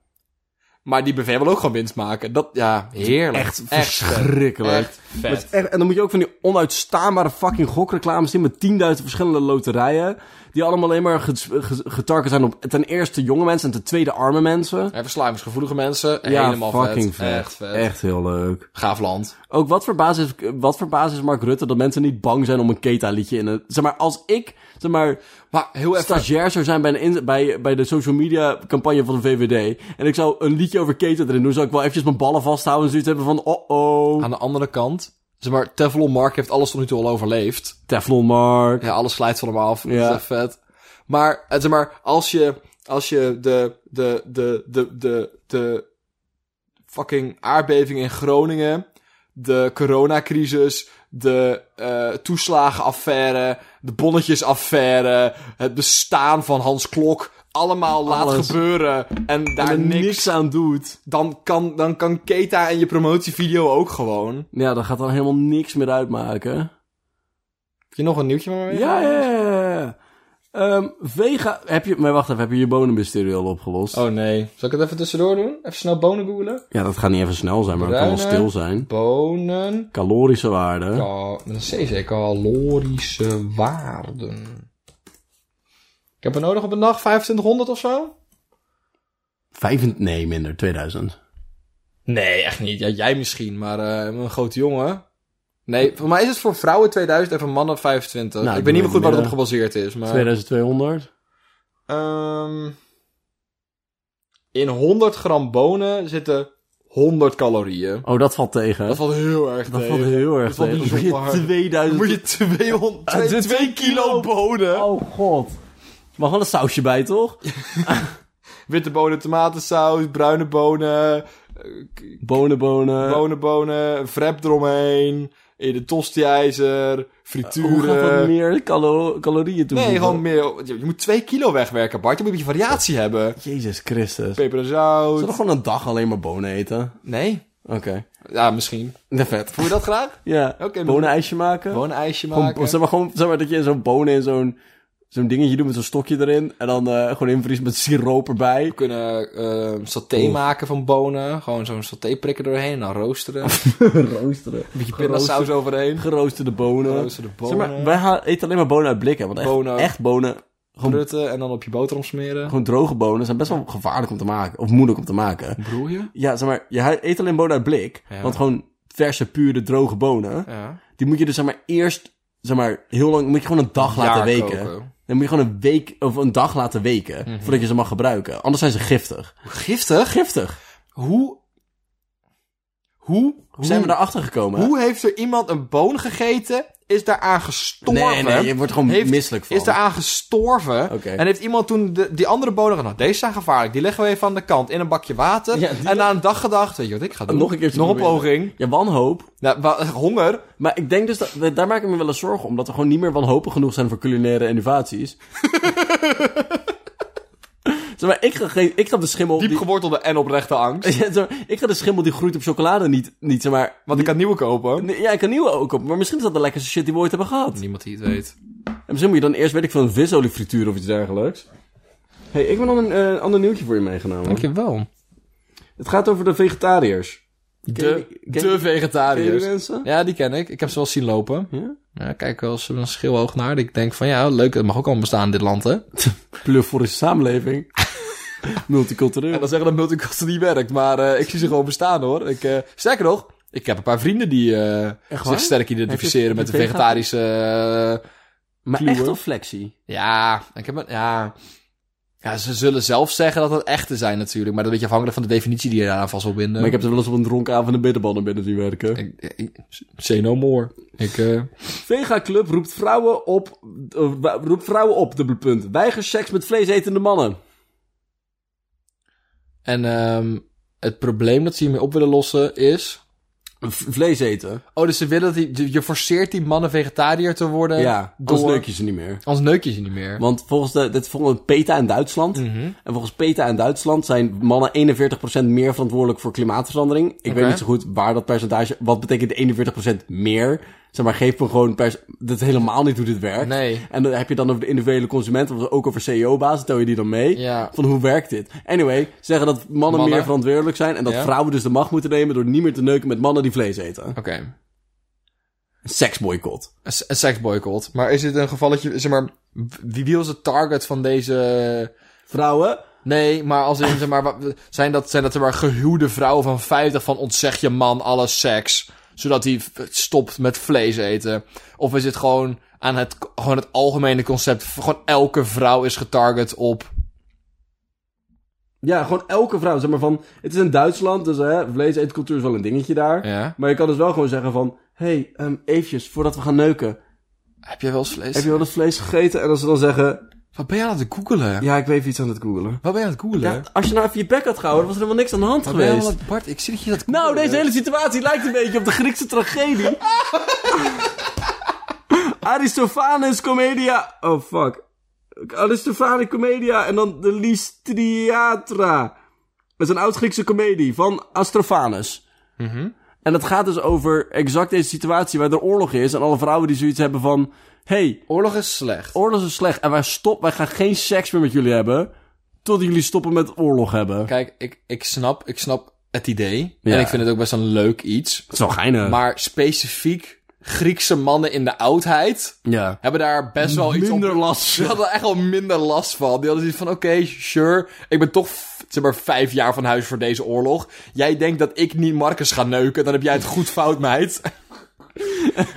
Speaker 2: Maar die BV wil ook gewoon winst maken. Dat, ja, heerlijk.
Speaker 1: Echt
Speaker 2: eh,
Speaker 1: verschrikkelijk.
Speaker 2: echt vet.
Speaker 1: Dat is echt- en dan moet je ook van die onuitstaanbare fucking gokreclames zien met 10.000 verschillende loterijen. Die allemaal alleen maar ges- ge- getarget zijn op ten eerste jonge mensen en ten tweede arme mensen.
Speaker 2: En verslavingsgevoelige mensen,
Speaker 1: Ja,
Speaker 2: helemaal
Speaker 1: fucking
Speaker 2: vet. Echt vet.
Speaker 1: Echt heel leuk.
Speaker 2: Gaaf land.
Speaker 1: Ook wat verbaast is, wat verbaast is Mark Rutte dat mensen niet bang zijn om een keta-liedje in een... Zeg maar, als ik, zeg maar,
Speaker 2: Maar heel even...
Speaker 1: stagiair zou zijn bij, een in- bij, bij de social media campagne van de VVD. En ik zou een liedje over keten erin doen. Zou ik wel eventjes mijn ballen vasthouden en zoiets hebben van... Oh oh,
Speaker 2: Aan de andere kant, zeg maar, Teflon Mark heeft alles tot nu toe al overleefd.
Speaker 1: Teflon Mark.
Speaker 2: Ja, alles slijt van hem af.
Speaker 1: Ja.
Speaker 2: Dat is echt vet. Maar, eh, zeg maar, als je, als je de, de, de, de, de, de fucking aardbeving in Groningen, de coronacrisis, de eh, toeslagenaffaire, de bonnetjesaffaire, het bestaan van Hans Klok, allemaal laat
Speaker 1: Alles.
Speaker 2: gebeuren en daar
Speaker 1: Daar
Speaker 2: niks,
Speaker 1: niks aan doet.
Speaker 2: dan kan, dan kan Keta en je promotievideo ook gewoon.
Speaker 1: Ja, dat gaat dan helemaal niks meer uitmaken.
Speaker 2: Heb je nog een nieuwtje maar mee?
Speaker 1: Ja, ja, ja, ja. Ehm, Vega... Heb je... Maar wacht even, heb je je bonenmysterie al opgelost?
Speaker 2: Oh nee. Zal ik het even tussendoor doen? Even snel bonen googelen?
Speaker 1: Ja, dat gaat niet even snel zijn, maar het kan wel
Speaker 2: Bruine.
Speaker 1: stil zijn.
Speaker 2: Bonen.
Speaker 1: Calorische waarde.
Speaker 2: Ka- Met een CC, calorische waarden. Ik heb er nodig op een dag 2500 of zo?
Speaker 1: Vijfent- Nee, minder. 2000.
Speaker 2: Nee, echt niet. Ja, jij misschien, maar eh, ik ben een grote jongen. Nee, voor mij is het voor vrouwen 2000 en voor mannen 25.
Speaker 1: Nou,
Speaker 2: ik weet niet meer goed waar het op
Speaker 1: midden.
Speaker 2: gebaseerd is, maar...
Speaker 1: 2200.
Speaker 2: Ehm, in 100 gram bonen zitten 100 calorieën.
Speaker 1: Oh, dat valt tegen.
Speaker 2: Dat valt heel erg
Speaker 1: Dat
Speaker 2: tegen.
Speaker 1: valt heel erg
Speaker 2: Dat valt
Speaker 1: tegen.
Speaker 2: niet
Speaker 1: Moet je
Speaker 2: zo hard.
Speaker 1: 2000...
Speaker 2: Moet je 200,
Speaker 1: Ah, dit
Speaker 2: 2 kilo bonen.
Speaker 1: Oh, god. Mag wel een sausje bij, toch?
Speaker 2: Witte bonen, tomatensaus, bruine bonen,
Speaker 1: Bonen, bonen.
Speaker 2: bonenbonen, wrap eromheen, in de tosti-ijzer,
Speaker 1: Hoe
Speaker 2: frituren.
Speaker 1: gaat dat meer calo- calorieën toevoegen?
Speaker 2: nee, gewoon meer. Je je moet 2 kilo wegwerken, Bart. Je moet een beetje variatie hebben.
Speaker 1: Jezus Christus.
Speaker 2: Peper en zout.
Speaker 1: Zullen we gewoon een dag alleen maar bonen eten?
Speaker 2: Nee?
Speaker 1: Oké.
Speaker 2: Ja, misschien.
Speaker 1: Dat vet.
Speaker 2: Voel je dat graag?
Speaker 1: Ja.
Speaker 2: Oké, maar-
Speaker 1: Bonenijsje maken?
Speaker 2: Gewoon een ijsje maken.
Speaker 1: Gewoon, zeg maar, gewoon, zeg maar dat je zo'n bonen in zo'n zo'n dingetje doet met zo'n stokje erin. En dan eh, gewoon invries met siroop erbij.
Speaker 2: We kunnen eh saté
Speaker 1: Oeh.
Speaker 2: maken van bonen. Gewoon zo'n saté prikken doorheen en dan roosteren. Een
Speaker 1: Roosteren.
Speaker 2: beetje pindasaus overheen.
Speaker 1: Geroosterde bonen.
Speaker 2: Geroosterde bonen.
Speaker 1: Zeg maar, wij ha- eten alleen maar bonen uit blikken. Want echt
Speaker 2: Bonen.
Speaker 1: bonen. Echt bonen gewoon,
Speaker 2: Prutten en dan op je boterham smeren.
Speaker 1: gewoon droge bonen zijn best wel gevaarlijk om te maken. Of moeilijk om te maken.
Speaker 2: Broer je?
Speaker 1: Ja, zeg maar, je hu- eet alleen bonen uit blik.
Speaker 2: Ja.
Speaker 1: Want gewoon verse, pure, droge bonen.
Speaker 2: Ja.
Speaker 1: Die moet je dus zeg maar eerst, zeg maar, heel lang... Moet je gewoon een dag laten
Speaker 2: Jaar
Speaker 1: weken.
Speaker 2: koken. Mhm.
Speaker 1: Dan moet je gewoon een week of een dag laten weken. Voordat je ze mag gebruiken. Anders zijn ze giftig.
Speaker 2: Giftig?
Speaker 1: Giftig.
Speaker 2: Hoe... Hoe, hoe,
Speaker 1: Zijn we daarachter gekomen?
Speaker 2: hoe heeft er iemand een boon gegeten? Is daaraan gestorven?
Speaker 1: Nee, nee, je wordt gewoon
Speaker 2: Heeft-
Speaker 1: misselijk van.
Speaker 2: Is daaraan gestorven?
Speaker 1: Oké.
Speaker 2: En heeft iemand toen de- die andere bonen gedaan? Nou, Deze zijn gevaarlijk. Die leggen we even aan de kant in een bakje water.
Speaker 1: Ja, die-
Speaker 2: En na een dag gedacht, weet je wat ik ga doen?
Speaker 1: Nog een keertje
Speaker 2: Nog een
Speaker 1: proberen.
Speaker 2: poging.
Speaker 1: Ja, wanhoop.
Speaker 2: Nou, wa- honger.
Speaker 1: Maar ik denk dus dat... Daar maak ik me wel eens zorgen om. Dat we gewoon niet meer wanhopig genoeg zijn voor culinaire innovaties. zeg maar, ik ga, geen, ik ga de schimmel...
Speaker 2: Diep
Speaker 1: die-
Speaker 2: gewortelde en oprechte angst.
Speaker 1: Ja, zeg maar, ik ga de schimmel die groeit op chocolade niet, niet zeg maar...
Speaker 2: Want ik kan nieuwe kopen.
Speaker 1: Nee, Ja, ik kan nieuwe ook op. Maar misschien is dat de lekkerste shit die we ooit hebben gehad. En
Speaker 2: Niemand die het weet.
Speaker 1: misschien moet je dan eerst, weet ik veel, een visolie frituur of iets dergelijks. hey, ik heb nog een eh, ander nieuwtje voor je meegenomen.
Speaker 2: Dankjewel.
Speaker 1: Het gaat over de vegetariërs.
Speaker 2: De,
Speaker 1: Ken je- ken
Speaker 2: de
Speaker 1: je- Ken je die
Speaker 2: vegetariërs.
Speaker 1: mensen?
Speaker 2: Ja, die ken ik. Ik heb ze wel eens zien lopen.
Speaker 1: Ja?
Speaker 2: Ja, ik kijk wel eens een schilhoog naar. Ik denk van, ja, leuk, het mag ook al bestaan in dit land, hè?
Speaker 1: Pluriforische samenleving.
Speaker 2: En
Speaker 1: Multicultureel.
Speaker 2: dan zeggen dat multicultuur niet werkt, maar eh, ik zie ze gewoon bestaan, hoor. Ik, eh, sterker nog, ik heb een paar vrienden die eh,
Speaker 1: Echt waar?
Speaker 2: zich sterk
Speaker 1: Heb
Speaker 2: identificeren
Speaker 1: je-
Speaker 2: met de
Speaker 1: heb je vega-
Speaker 2: vegetarische... eh,
Speaker 1: Maar
Speaker 2: Kluwe.
Speaker 1: echt of flexie?
Speaker 2: ja, ik heb een... Ja... Ja, ze zullen zelf zeggen dat het echte zijn natuurlijk, maar dat is een beetje afhankelijk van de definitie die je daaraan vast wil binden.
Speaker 1: Maar ik heb ze wel eens op een dronken avond een bitterbal naar binnen zien werken.
Speaker 2: Ik, ik- say no more. Ik, eh,
Speaker 1: Vega Club roept vrouwen op... eh, wa- roept vrouwen op, dubbele punt. Weiger seks met vleesetende mannen.
Speaker 2: en ehm, het probleem dat ze hiermee op willen lossen is...
Speaker 1: V- vlees eten?
Speaker 2: Oh, dus ze willen dat die, je forceert die mannen vegetariër te worden.
Speaker 1: ja,
Speaker 2: Eh, door...
Speaker 1: anders leuk je ze niet meer.
Speaker 2: Anders neuk je ze niet meer.
Speaker 1: Want volgens de, dit volgens PETA in Duitsland.
Speaker 2: Mhm.
Speaker 1: En volgens PETA in Duitsland zijn mannen 41% meer verantwoordelijk voor klimaatverandering. Ik weet niet zo goed waar dat percentage. Wat betekent 41% meer? Zeg maar, geef me gewoon. Pers, dat is helemaal niet hoe dit werkt.
Speaker 2: Nee.
Speaker 1: En dan heb je dan over de individuele consument, of ook over CEO-bazen, tel je die dan mee.
Speaker 2: Ja.
Speaker 1: Van hoe werkt dit? Anyway, zeggen dat mannen,
Speaker 2: Mannen.
Speaker 1: meer verantwoordelijk zijn en dat
Speaker 2: Ja.
Speaker 1: vrouwen dus de macht moeten nemen door niet meer te neuken met mannen die vlees eten.
Speaker 2: Oké.
Speaker 1: Seksboycott.
Speaker 2: Een, s- een seksboycott. Maar is dit een gevalletje... Zeg maar, wie, wie was het target van deze...
Speaker 1: Vrouwen,
Speaker 2: Nee, maar als in, zeg maar, wat- zijn dat, zijn dat zeg maar gehuwde vrouwen van 50 van ontzeg je man alle seks, zodat hij v- stopt met vlees eten? Of is het gewoon aan het, gewoon het algemene concept, v- gewoon elke vrouw is getarget op...
Speaker 1: Ja, gewoon elke vrouw. Zeg maar van, het is in Duitsland, dus hè, vlees eetcultuur is wel een dingetje daar.
Speaker 2: Ja.
Speaker 1: Maar je kan dus wel gewoon zeggen van... hey, ehm eventjes, voordat we gaan neuken...
Speaker 2: Heb jij wel eens vlees?
Speaker 1: Heb je wel eens vlees gegeten? En als ze dan zeggen...
Speaker 2: Wat ben je aan het googelen?
Speaker 1: Ja, ik ben even iets aan het googelen.
Speaker 2: Wat ben je aan het googelen?
Speaker 1: Ja, als je nou even je bek had gehouden, was er helemaal niks aan de hand
Speaker 2: Wat ben je
Speaker 1: geweest.
Speaker 2: aan het- Bart, ik zie dat je dat Eh,
Speaker 1: Nou,
Speaker 2: googelen.
Speaker 1: deze hele situatie lijkt een beetje op de Griekse tragedie. Aristophanes Comedia... Oh, fuck. Aristophanes Comedia en dan de Lystriatra. Dat is een oud-Griekse comedie van Astrophanes.
Speaker 2: Mhm.
Speaker 1: En dat gaat dus over exact deze situatie waar er oorlog is. En alle vrouwen die zoiets hebben van... hey,
Speaker 2: Oorlog is slecht.
Speaker 1: oorlog is slecht en wij, stop, wij gaan geen seks meer met jullie hebben... tot jullie stoppen met oorlog hebben.
Speaker 2: Kijk, ik, ik, snap, ik snap het idee.
Speaker 1: Ja.
Speaker 2: En ik vind het ook best een leuk iets.
Speaker 1: Dat is wel geinig.
Speaker 2: Maar specifiek Griekse mannen in de oudheid
Speaker 1: ja.
Speaker 2: hebben daar best wel iets
Speaker 1: Minder
Speaker 2: op...
Speaker 1: last.
Speaker 2: Ze hadden er echt wel minder last van. Die hadden zoiets van, oké, sure. Ik ben toch, f- zeg maar, vijf jaar van huis voor deze oorlog. Jij denkt dat ik niet Marcus ga neuken. Dan heb jij het goed fout, meid.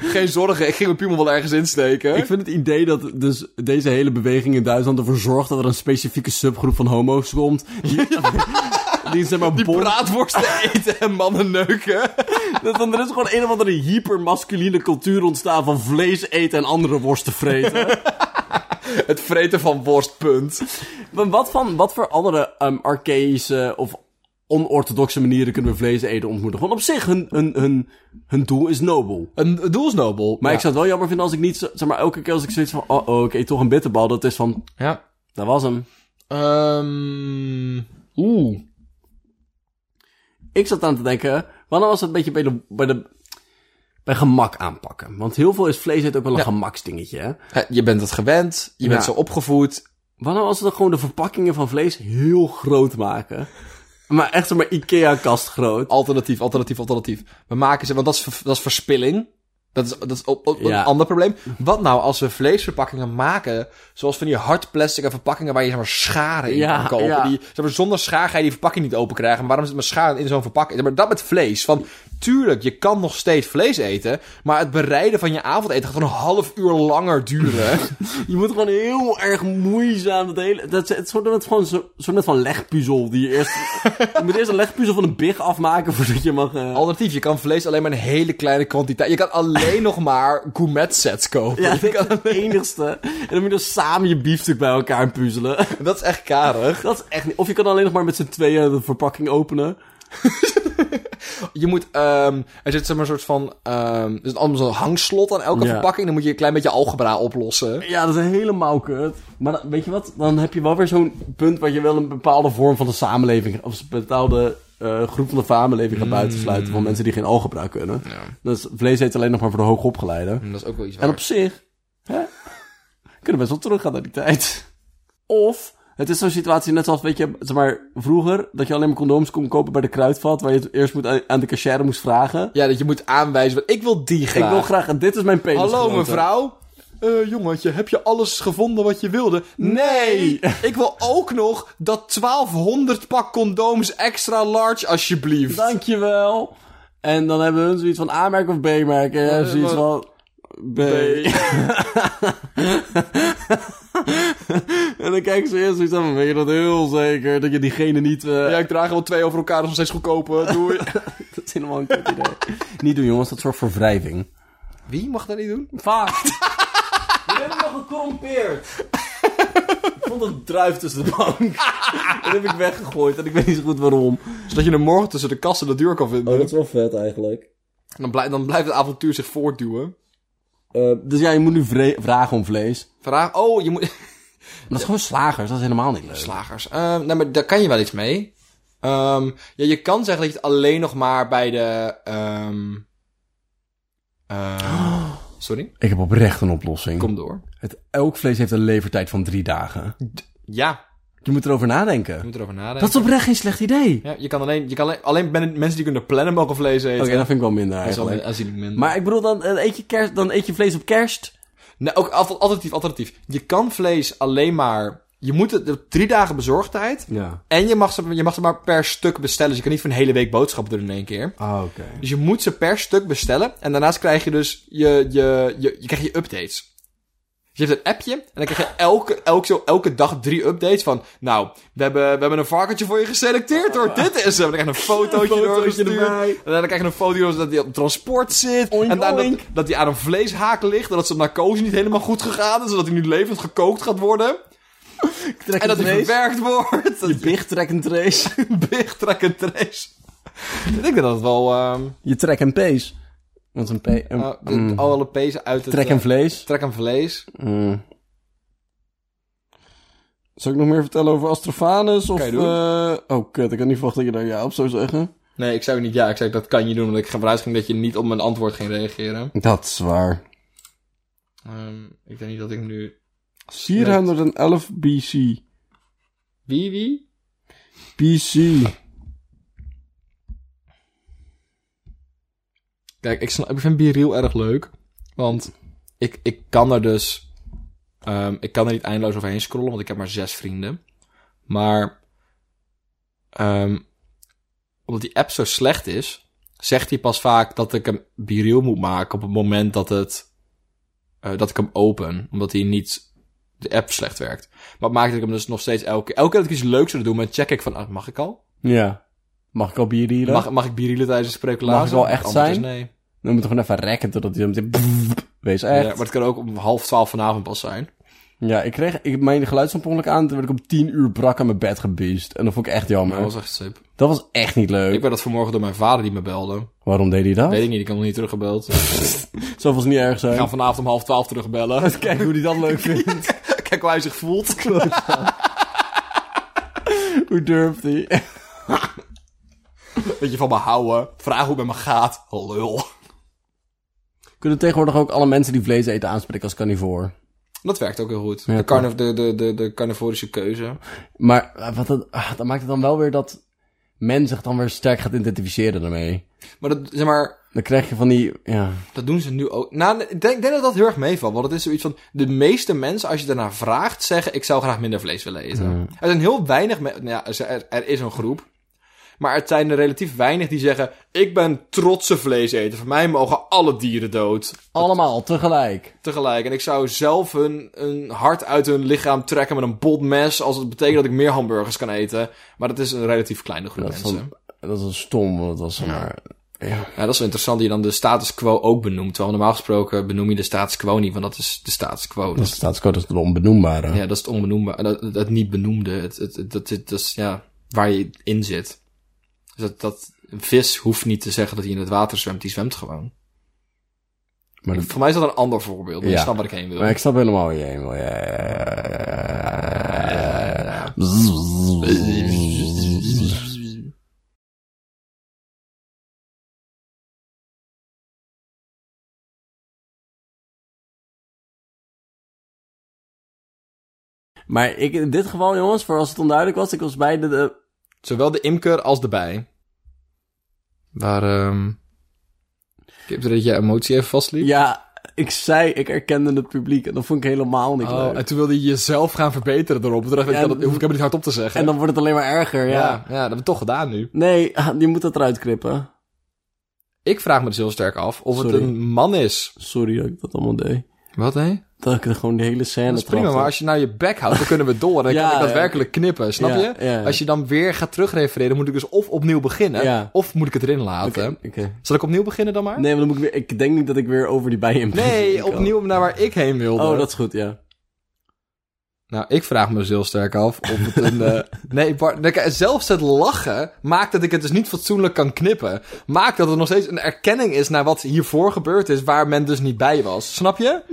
Speaker 2: Geen zorgen, ik ging mijn piemel wel ergens insteken.
Speaker 1: Ik vind het idee dat dus deze hele beweging in Duitsland ervoor zorgt dat er een specifieke subgroep van homo's komt. Die, die zeg maar
Speaker 2: Die
Speaker 1: bon-
Speaker 2: braadworsten eten en mannen neuken.
Speaker 1: Dat- Want er is gewoon een of andere hypermasculine cultuur ontstaan van vlees eten en andere worsten vreten.
Speaker 2: Het vreten van worst, punt.
Speaker 1: maar wat, van, wat voor andere ehm, archaïsche of onorthodoxe manieren kunnen we vlees eten ontmoeten? Gewoon op zich, hun, hun, hun, hun doel is nobel.
Speaker 2: Een, een doel is nobel.
Speaker 1: Maar
Speaker 2: ja.
Speaker 1: ik zou het wel jammer vinden als ik niet, zo- zeg maar, elke keer als ik zoiets van, oh, oh ik eet toch een bitterbal, dat is van,
Speaker 2: Ja.
Speaker 1: dat was hem.
Speaker 2: Ehm, Oeh.
Speaker 1: Ik zat aan te denken, wanneer was het een beetje bij de, bij de, bij gemak aanpakken? Want heel veel is vlees eten ook wel een
Speaker 2: Ja.
Speaker 1: gemaksdingetje, hè?
Speaker 2: Hè, Je bent het gewend, je bent
Speaker 1: Ja.
Speaker 2: zo opgevoed.
Speaker 1: Wanneer was het dan gewoon de verpakkingen van vlees heel groot maken? Maar echt zomaar Ikea-kast groot.
Speaker 2: Alternatief, alternatief, alternatief. We maken ze, want dat is, ver- dat is verspilling. Dat is, dat is op- op-
Speaker 1: Ja.
Speaker 2: een ander probleem. Wat nou als we vleesverpakkingen maken, zoals van die hard plastic verpakkingen waar je zeg maar, scharen in
Speaker 1: Ja,
Speaker 2: kan kopen.
Speaker 1: ja.
Speaker 2: Die, zeg maar, zonder schaar ga je die verpakking niet open krijgen. Maar waarom zit maar schaar in zo'n verpakking? Zeg maar, dat met vlees. Van, tuurlijk, je kan nog steeds vlees eten, maar het bereiden van je avondeten gaat gewoon een half uur langer duren.
Speaker 1: Je moet gewoon heel erg moeizaam dat hele... Dat, het is soort net gewoon zo, soort net van legpuzzel die je eerst... je moet eerst een legpuzzel van een big afmaken voordat je mag... eh,
Speaker 2: Alternatief, je kan vlees alleen maar een hele kleine kwantiteit. Je kan alleen nog maar gourmet sets kopen.
Speaker 1: Ja, dat is het enigste. En dan moet je dus samen je biefstuk bij elkaar puzzelen.
Speaker 2: Dat is echt karig.
Speaker 1: Dat is echt niet... Of je kan alleen nog maar met z'n tweeën de verpakking openen.
Speaker 2: Je moet, ehm, er zit zeg maar een soort van, ehm, er zit allemaal zo'n hangslot aan elke
Speaker 1: Ja.
Speaker 2: verpakking. Dan moet je een klein beetje algebra oplossen.
Speaker 1: Ja, dat is helemaal kut. Maar dan- weet je wat? Dan heb je wel weer zo'n punt waar je wel een bepaalde vorm van de samenleving... of een bepaalde eh, groep van de samenleving gaat buitensluiten...
Speaker 2: Mm.
Speaker 1: van mensen die geen algebra kunnen. Dus vlees eet alleen nog maar voor de hoogopgeleiden.
Speaker 2: Dat is ook wel iets
Speaker 1: En op zich... Hè, kunnen we best wel teruggaan naar die tijd. Of... Het is zo'n situatie net zoals, weet je, zeg maar, vroeger... dat je alleen maar condooms kon kopen bij de kruidvat... waar je het eerst moet aan- aan de cashier moest vragen.
Speaker 2: Ja, dat je moet aanwijzen, want ik wil die graag.
Speaker 1: Ik wil graag... en Dit is mijn penis.
Speaker 2: Hallo mevrouw. Eh, jongetje, heb je alles gevonden wat je wilde? Nee! ik wil ook nog dat 1200 pak condooms extra large, alsjeblieft.
Speaker 1: Dankjewel. En dan hebben hun zoiets van A-merk of B-merk. En jij hebt zoiets
Speaker 2: maar-
Speaker 1: van... B. En dan kijken ze eerst zoiets van... Weet je dat heel zeker? Dat je diegene niet... eh,
Speaker 2: Ja, ik draag er wel twee over elkaar, dat is nog steeds goedkoper. Doei.
Speaker 1: Dat is helemaal een kut idee. niet doen jongens, dat zorgt voor wrijving.
Speaker 2: Wie mag dat niet doen?
Speaker 1: Vaak. We hebben nog gecorrompeerd. Ik vond een druif tussen de bank. dat heb ik weggegooid en ik weet niet zo goed waarom.
Speaker 2: Zodat je hem morgen tussen de kassen de deur kan vinden.
Speaker 1: dat is wel vet eigenlijk.
Speaker 2: dan, blijft, dan blijft het avontuur zich voortduwen.
Speaker 1: dus ja, je moet nu vre- vragen om vlees.
Speaker 2: Vraag, oh, je moet...
Speaker 1: Maar dat is gewoon slagers, dat is helemaal niet leuk.
Speaker 2: Slagers. Ehm, nou, maar daar kan je wel iets mee. Ehm, ja, je kan zeggen dat je het alleen nog maar bij de... ehm, ehm,
Speaker 1: Oh.
Speaker 2: sorry?
Speaker 1: Ik heb oprecht een oplossing.
Speaker 2: Kom door.
Speaker 1: Het, elk vlees heeft een levertijd van drie dagen.
Speaker 2: Ja,
Speaker 1: Je moet erover nadenken.
Speaker 2: je moet erover nadenken.
Speaker 1: Dat is oprecht geen slecht idee.
Speaker 2: Ja, je kan alleen... Je kan alleen, alleen men- mensen die kunnen plannen mogen vlees eten.
Speaker 1: Oké, dat vind ik wel minder
Speaker 2: Dat is al
Speaker 1: eigenlijk.
Speaker 2: aanzienlijk minder.
Speaker 1: Maar ik bedoel, dan eh, eet, je kerst, dan eet je vlees op kerst.
Speaker 2: Nee, ook al- alternatief, alternatief. Je kan vlees alleen maar... Je moet het drie dagen bezorgdheid.
Speaker 1: Ja.
Speaker 2: En je mag, ze, je mag ze maar per stuk bestellen. Dus je kan niet voor een hele week boodschappen doen in één keer.
Speaker 1: Ah, oké.
Speaker 2: Dus je moet ze per stuk bestellen. En daarnaast krijg je dus je, je, je, je, krijgt je updates. Dus je hebt een appje en dan krijg je elke, elke, zo, elke dag drie updates van... Nou, we hebben, we hebben een varkentje voor je geselecteerd hoor. Dit is hem. Dan krijg je een fotootje,
Speaker 1: Een fotootje
Speaker 2: doorgestuurd.
Speaker 1: erbij.
Speaker 2: En dan krijg je een foto dat hij op transport zit.
Speaker 1: Oink,
Speaker 2: en daarna dat,
Speaker 1: oink.
Speaker 2: dat hij aan een vleeshaak ligt. En dat zijn narcose niet helemaal goed gegaan is. Zodat hij nu levend gekookt gaat worden. En dat hij verwerkt wordt.
Speaker 1: Je big track and trace.
Speaker 2: Big track and trace. Ik denk dat dat wel... ehm,
Speaker 1: je track and pace. Want een P. Een,
Speaker 2: Oh, de,
Speaker 1: mm.
Speaker 2: Alle pezen uit het...
Speaker 1: Track
Speaker 2: eh,
Speaker 1: en vlees.
Speaker 2: trek en vlees.
Speaker 1: Mm. Zal ik nog meer vertellen over Astrofanus? Of,
Speaker 2: Kan je doen.
Speaker 1: eh, oh, kut. Ik had niet verwacht dat je daar ja op zou zeggen.
Speaker 2: Nee, ik zou niet... Ja, ik zei dat kan je doen. Omdat ik vanuit ging dat je niet op mijn antwoord ging reageren.
Speaker 1: Dat is waar.
Speaker 2: Ehm, ik denk niet dat ik nu...
Speaker 1: 411 BC.
Speaker 2: Wie, wie?
Speaker 1: BC.
Speaker 2: Kijk, ik, snap, ik vind Biriel erg leuk. Want ik, ik kan er dus... ehm, ik kan er niet eindeloos overheen scrollen. Want ik heb maar zes vrienden. Maar... ehm, omdat die app zo slecht is... zegt hij pas vaak dat ik hem viriel moet maken op het moment dat het, eh, dat ik hem open. Omdat hij niet, de app slecht werkt. Maar het maakt dat ik hem dus nog steeds elke, elke keer dat ik iets leuks zou doen, dan check ik van, ah, mag ik al?
Speaker 1: Ja. Mag ik al bier dealen?
Speaker 2: Mag, mag ik virielen tijdens het spreken
Speaker 1: Mag ik wel echt
Speaker 2: Antwoord is
Speaker 1: zijn?
Speaker 2: Nee.
Speaker 1: Dan moet je gewoon even rekken totdat hij meteen... Wees
Speaker 2: Ja,
Speaker 1: echt.
Speaker 2: maar het kan ook om half twaalf vanavond pas zijn.
Speaker 1: Ja, ik kreeg ik, mijn geluidsomponelijk aan. Toen werd ik om tien uur brak aan mijn bed gebiest. En dat vond ik echt jammer.
Speaker 2: Maar dat was echt sip.
Speaker 1: Dat was echt niet leuk.
Speaker 2: Ik werd dat vanmorgen door mijn vader die me belde.
Speaker 1: Waarom deed hij dat?
Speaker 2: Weet ik niet, ik heb nog niet teruggebeld.
Speaker 1: Zo was niet erg
Speaker 2: Ik
Speaker 1: zijn.
Speaker 2: ga vanavond om half twaalf terugbellen.
Speaker 1: Kijk hoe hij dat leuk vindt.
Speaker 2: Kijk hoe hij zich voelt.
Speaker 1: hoe durft hij?
Speaker 2: Beetje van me houden. Vraag hoe het met me gaat. Lul.
Speaker 1: Kunnen tegenwoordig ook alle mensen die vlees eten aanspreken als carnivoor.
Speaker 2: Dat werkt ook heel goed.
Speaker 1: Ja,
Speaker 2: de, carniv de, de, de, de carnivorische keuze.
Speaker 1: Maar eh, wat dat, ah, dat maakt het dan wel weer dat men zich dan weer sterk gaat identificeren daarmee.
Speaker 2: Maar dat, zeg maar,
Speaker 1: Dan krijg je van die... Ja.
Speaker 2: dat doen ze nu ook. Nou, ik denk, ik denk dat dat heel erg meevalt. Want het is zoiets van, de meeste mensen, als je daarna vraagt, zeggen... ik zou graag minder vlees willen eten. Er zijn heel weinig mensen... Nou ja, er, zijn- er- er is een groep. Maar het zijn er relatief weinig die zeggen... ik ben trotse vleeseter. Voor mij mogen alle dieren dood.
Speaker 1: Allemaal tegelijk.
Speaker 2: tegelijk. En ik zou zelf hun, hun hart uit hun lichaam trekken met een bot mes... als het betekent dat ik meer hamburgers kan eten. Maar dat is een relatief kleine groep
Speaker 1: Dat is,
Speaker 2: mensen.
Speaker 1: dan, dat is dan stom, want dat was dan maar... Ja.
Speaker 2: Ja, dat is wel interessant dat je dan de status quo ook benoemt. Terwijl normaal gesproken benoem je de status quo niet, want dat is de status quo.
Speaker 1: Dat
Speaker 2: Dat
Speaker 1: is staatscode, dat is de onbenoembare.
Speaker 2: ja, dat is het onbenoembaar. Dat, het niet benoemde. Het, het, het- dat, dit- dat is ja, waar je in zit. Dus dat, dat, een vis hoeft niet te zeggen dat hij in het water zwemt. Die zwemt gewoon.
Speaker 1: Maar dat-
Speaker 2: Voor mij is dat een ander voorbeeld. Maar
Speaker 1: Ja.
Speaker 2: je snapt waar ik heen wil.
Speaker 1: Maar ik snap helemaal waar je heen wil. Ja, ja, ja, ja, ja. Maar ik, in dit geval, jongens, voor als het onduidelijk was, ik was bij de... de-
Speaker 2: Zowel de imker als de bij. Waar, ehm Ik heb dat je emotie even vastliep.
Speaker 1: ja, ik zei, ik herkende het publiek en dat vond ik helemaal niet leuk.
Speaker 2: Oh, toen wilde je jezelf gaan verbeteren erop. Toen dacht ik,
Speaker 1: Ja,
Speaker 2: dat hoef ik helemaal niet hard op te zeggen.
Speaker 1: En dan wordt het alleen maar erger, ja.
Speaker 2: Ja, ja, dat hebben we toch gedaan nu.
Speaker 1: Nee, ah, je moet dat eruit knippen.
Speaker 2: Ik vraag me dus heel sterk af of het
Speaker 1: Sorry.
Speaker 2: een man is.
Speaker 1: Sorry dat ik dat allemaal deed.
Speaker 2: Wat, hè?
Speaker 1: Dat ik er gewoon de hele scène
Speaker 2: Dat is prima, maar als je nou je bek houdt, dan kunnen we door. Dan
Speaker 1: Ja,
Speaker 2: kan ik
Speaker 1: ja.
Speaker 2: daadwerkelijk knippen, snap
Speaker 1: Ja,
Speaker 2: je?
Speaker 1: ja.
Speaker 2: Als je dan weer gaat terugrefereren, moet ik dus of opnieuw beginnen,
Speaker 1: Ja.
Speaker 2: of moet ik het erin laten. Zal ik opnieuw beginnen dan maar?
Speaker 1: Nee, maar dan moet ik weer... Ik denk niet dat ik weer over die bijen ben.
Speaker 2: Nee, opnieuw naar waar ik heen wilde.
Speaker 1: Oh, dat is goed, ja.
Speaker 2: Nou, ik vraag me dus heel sterk af of het een... eh, Nee, Bart, nou, kijk, zelfs het lachen maakt dat ik het dus niet fatsoenlijk kan knippen. Maakt dat er nog steeds een erkenning is naar wat hiervoor gebeurd is, waar men dus niet bij was. Snap je?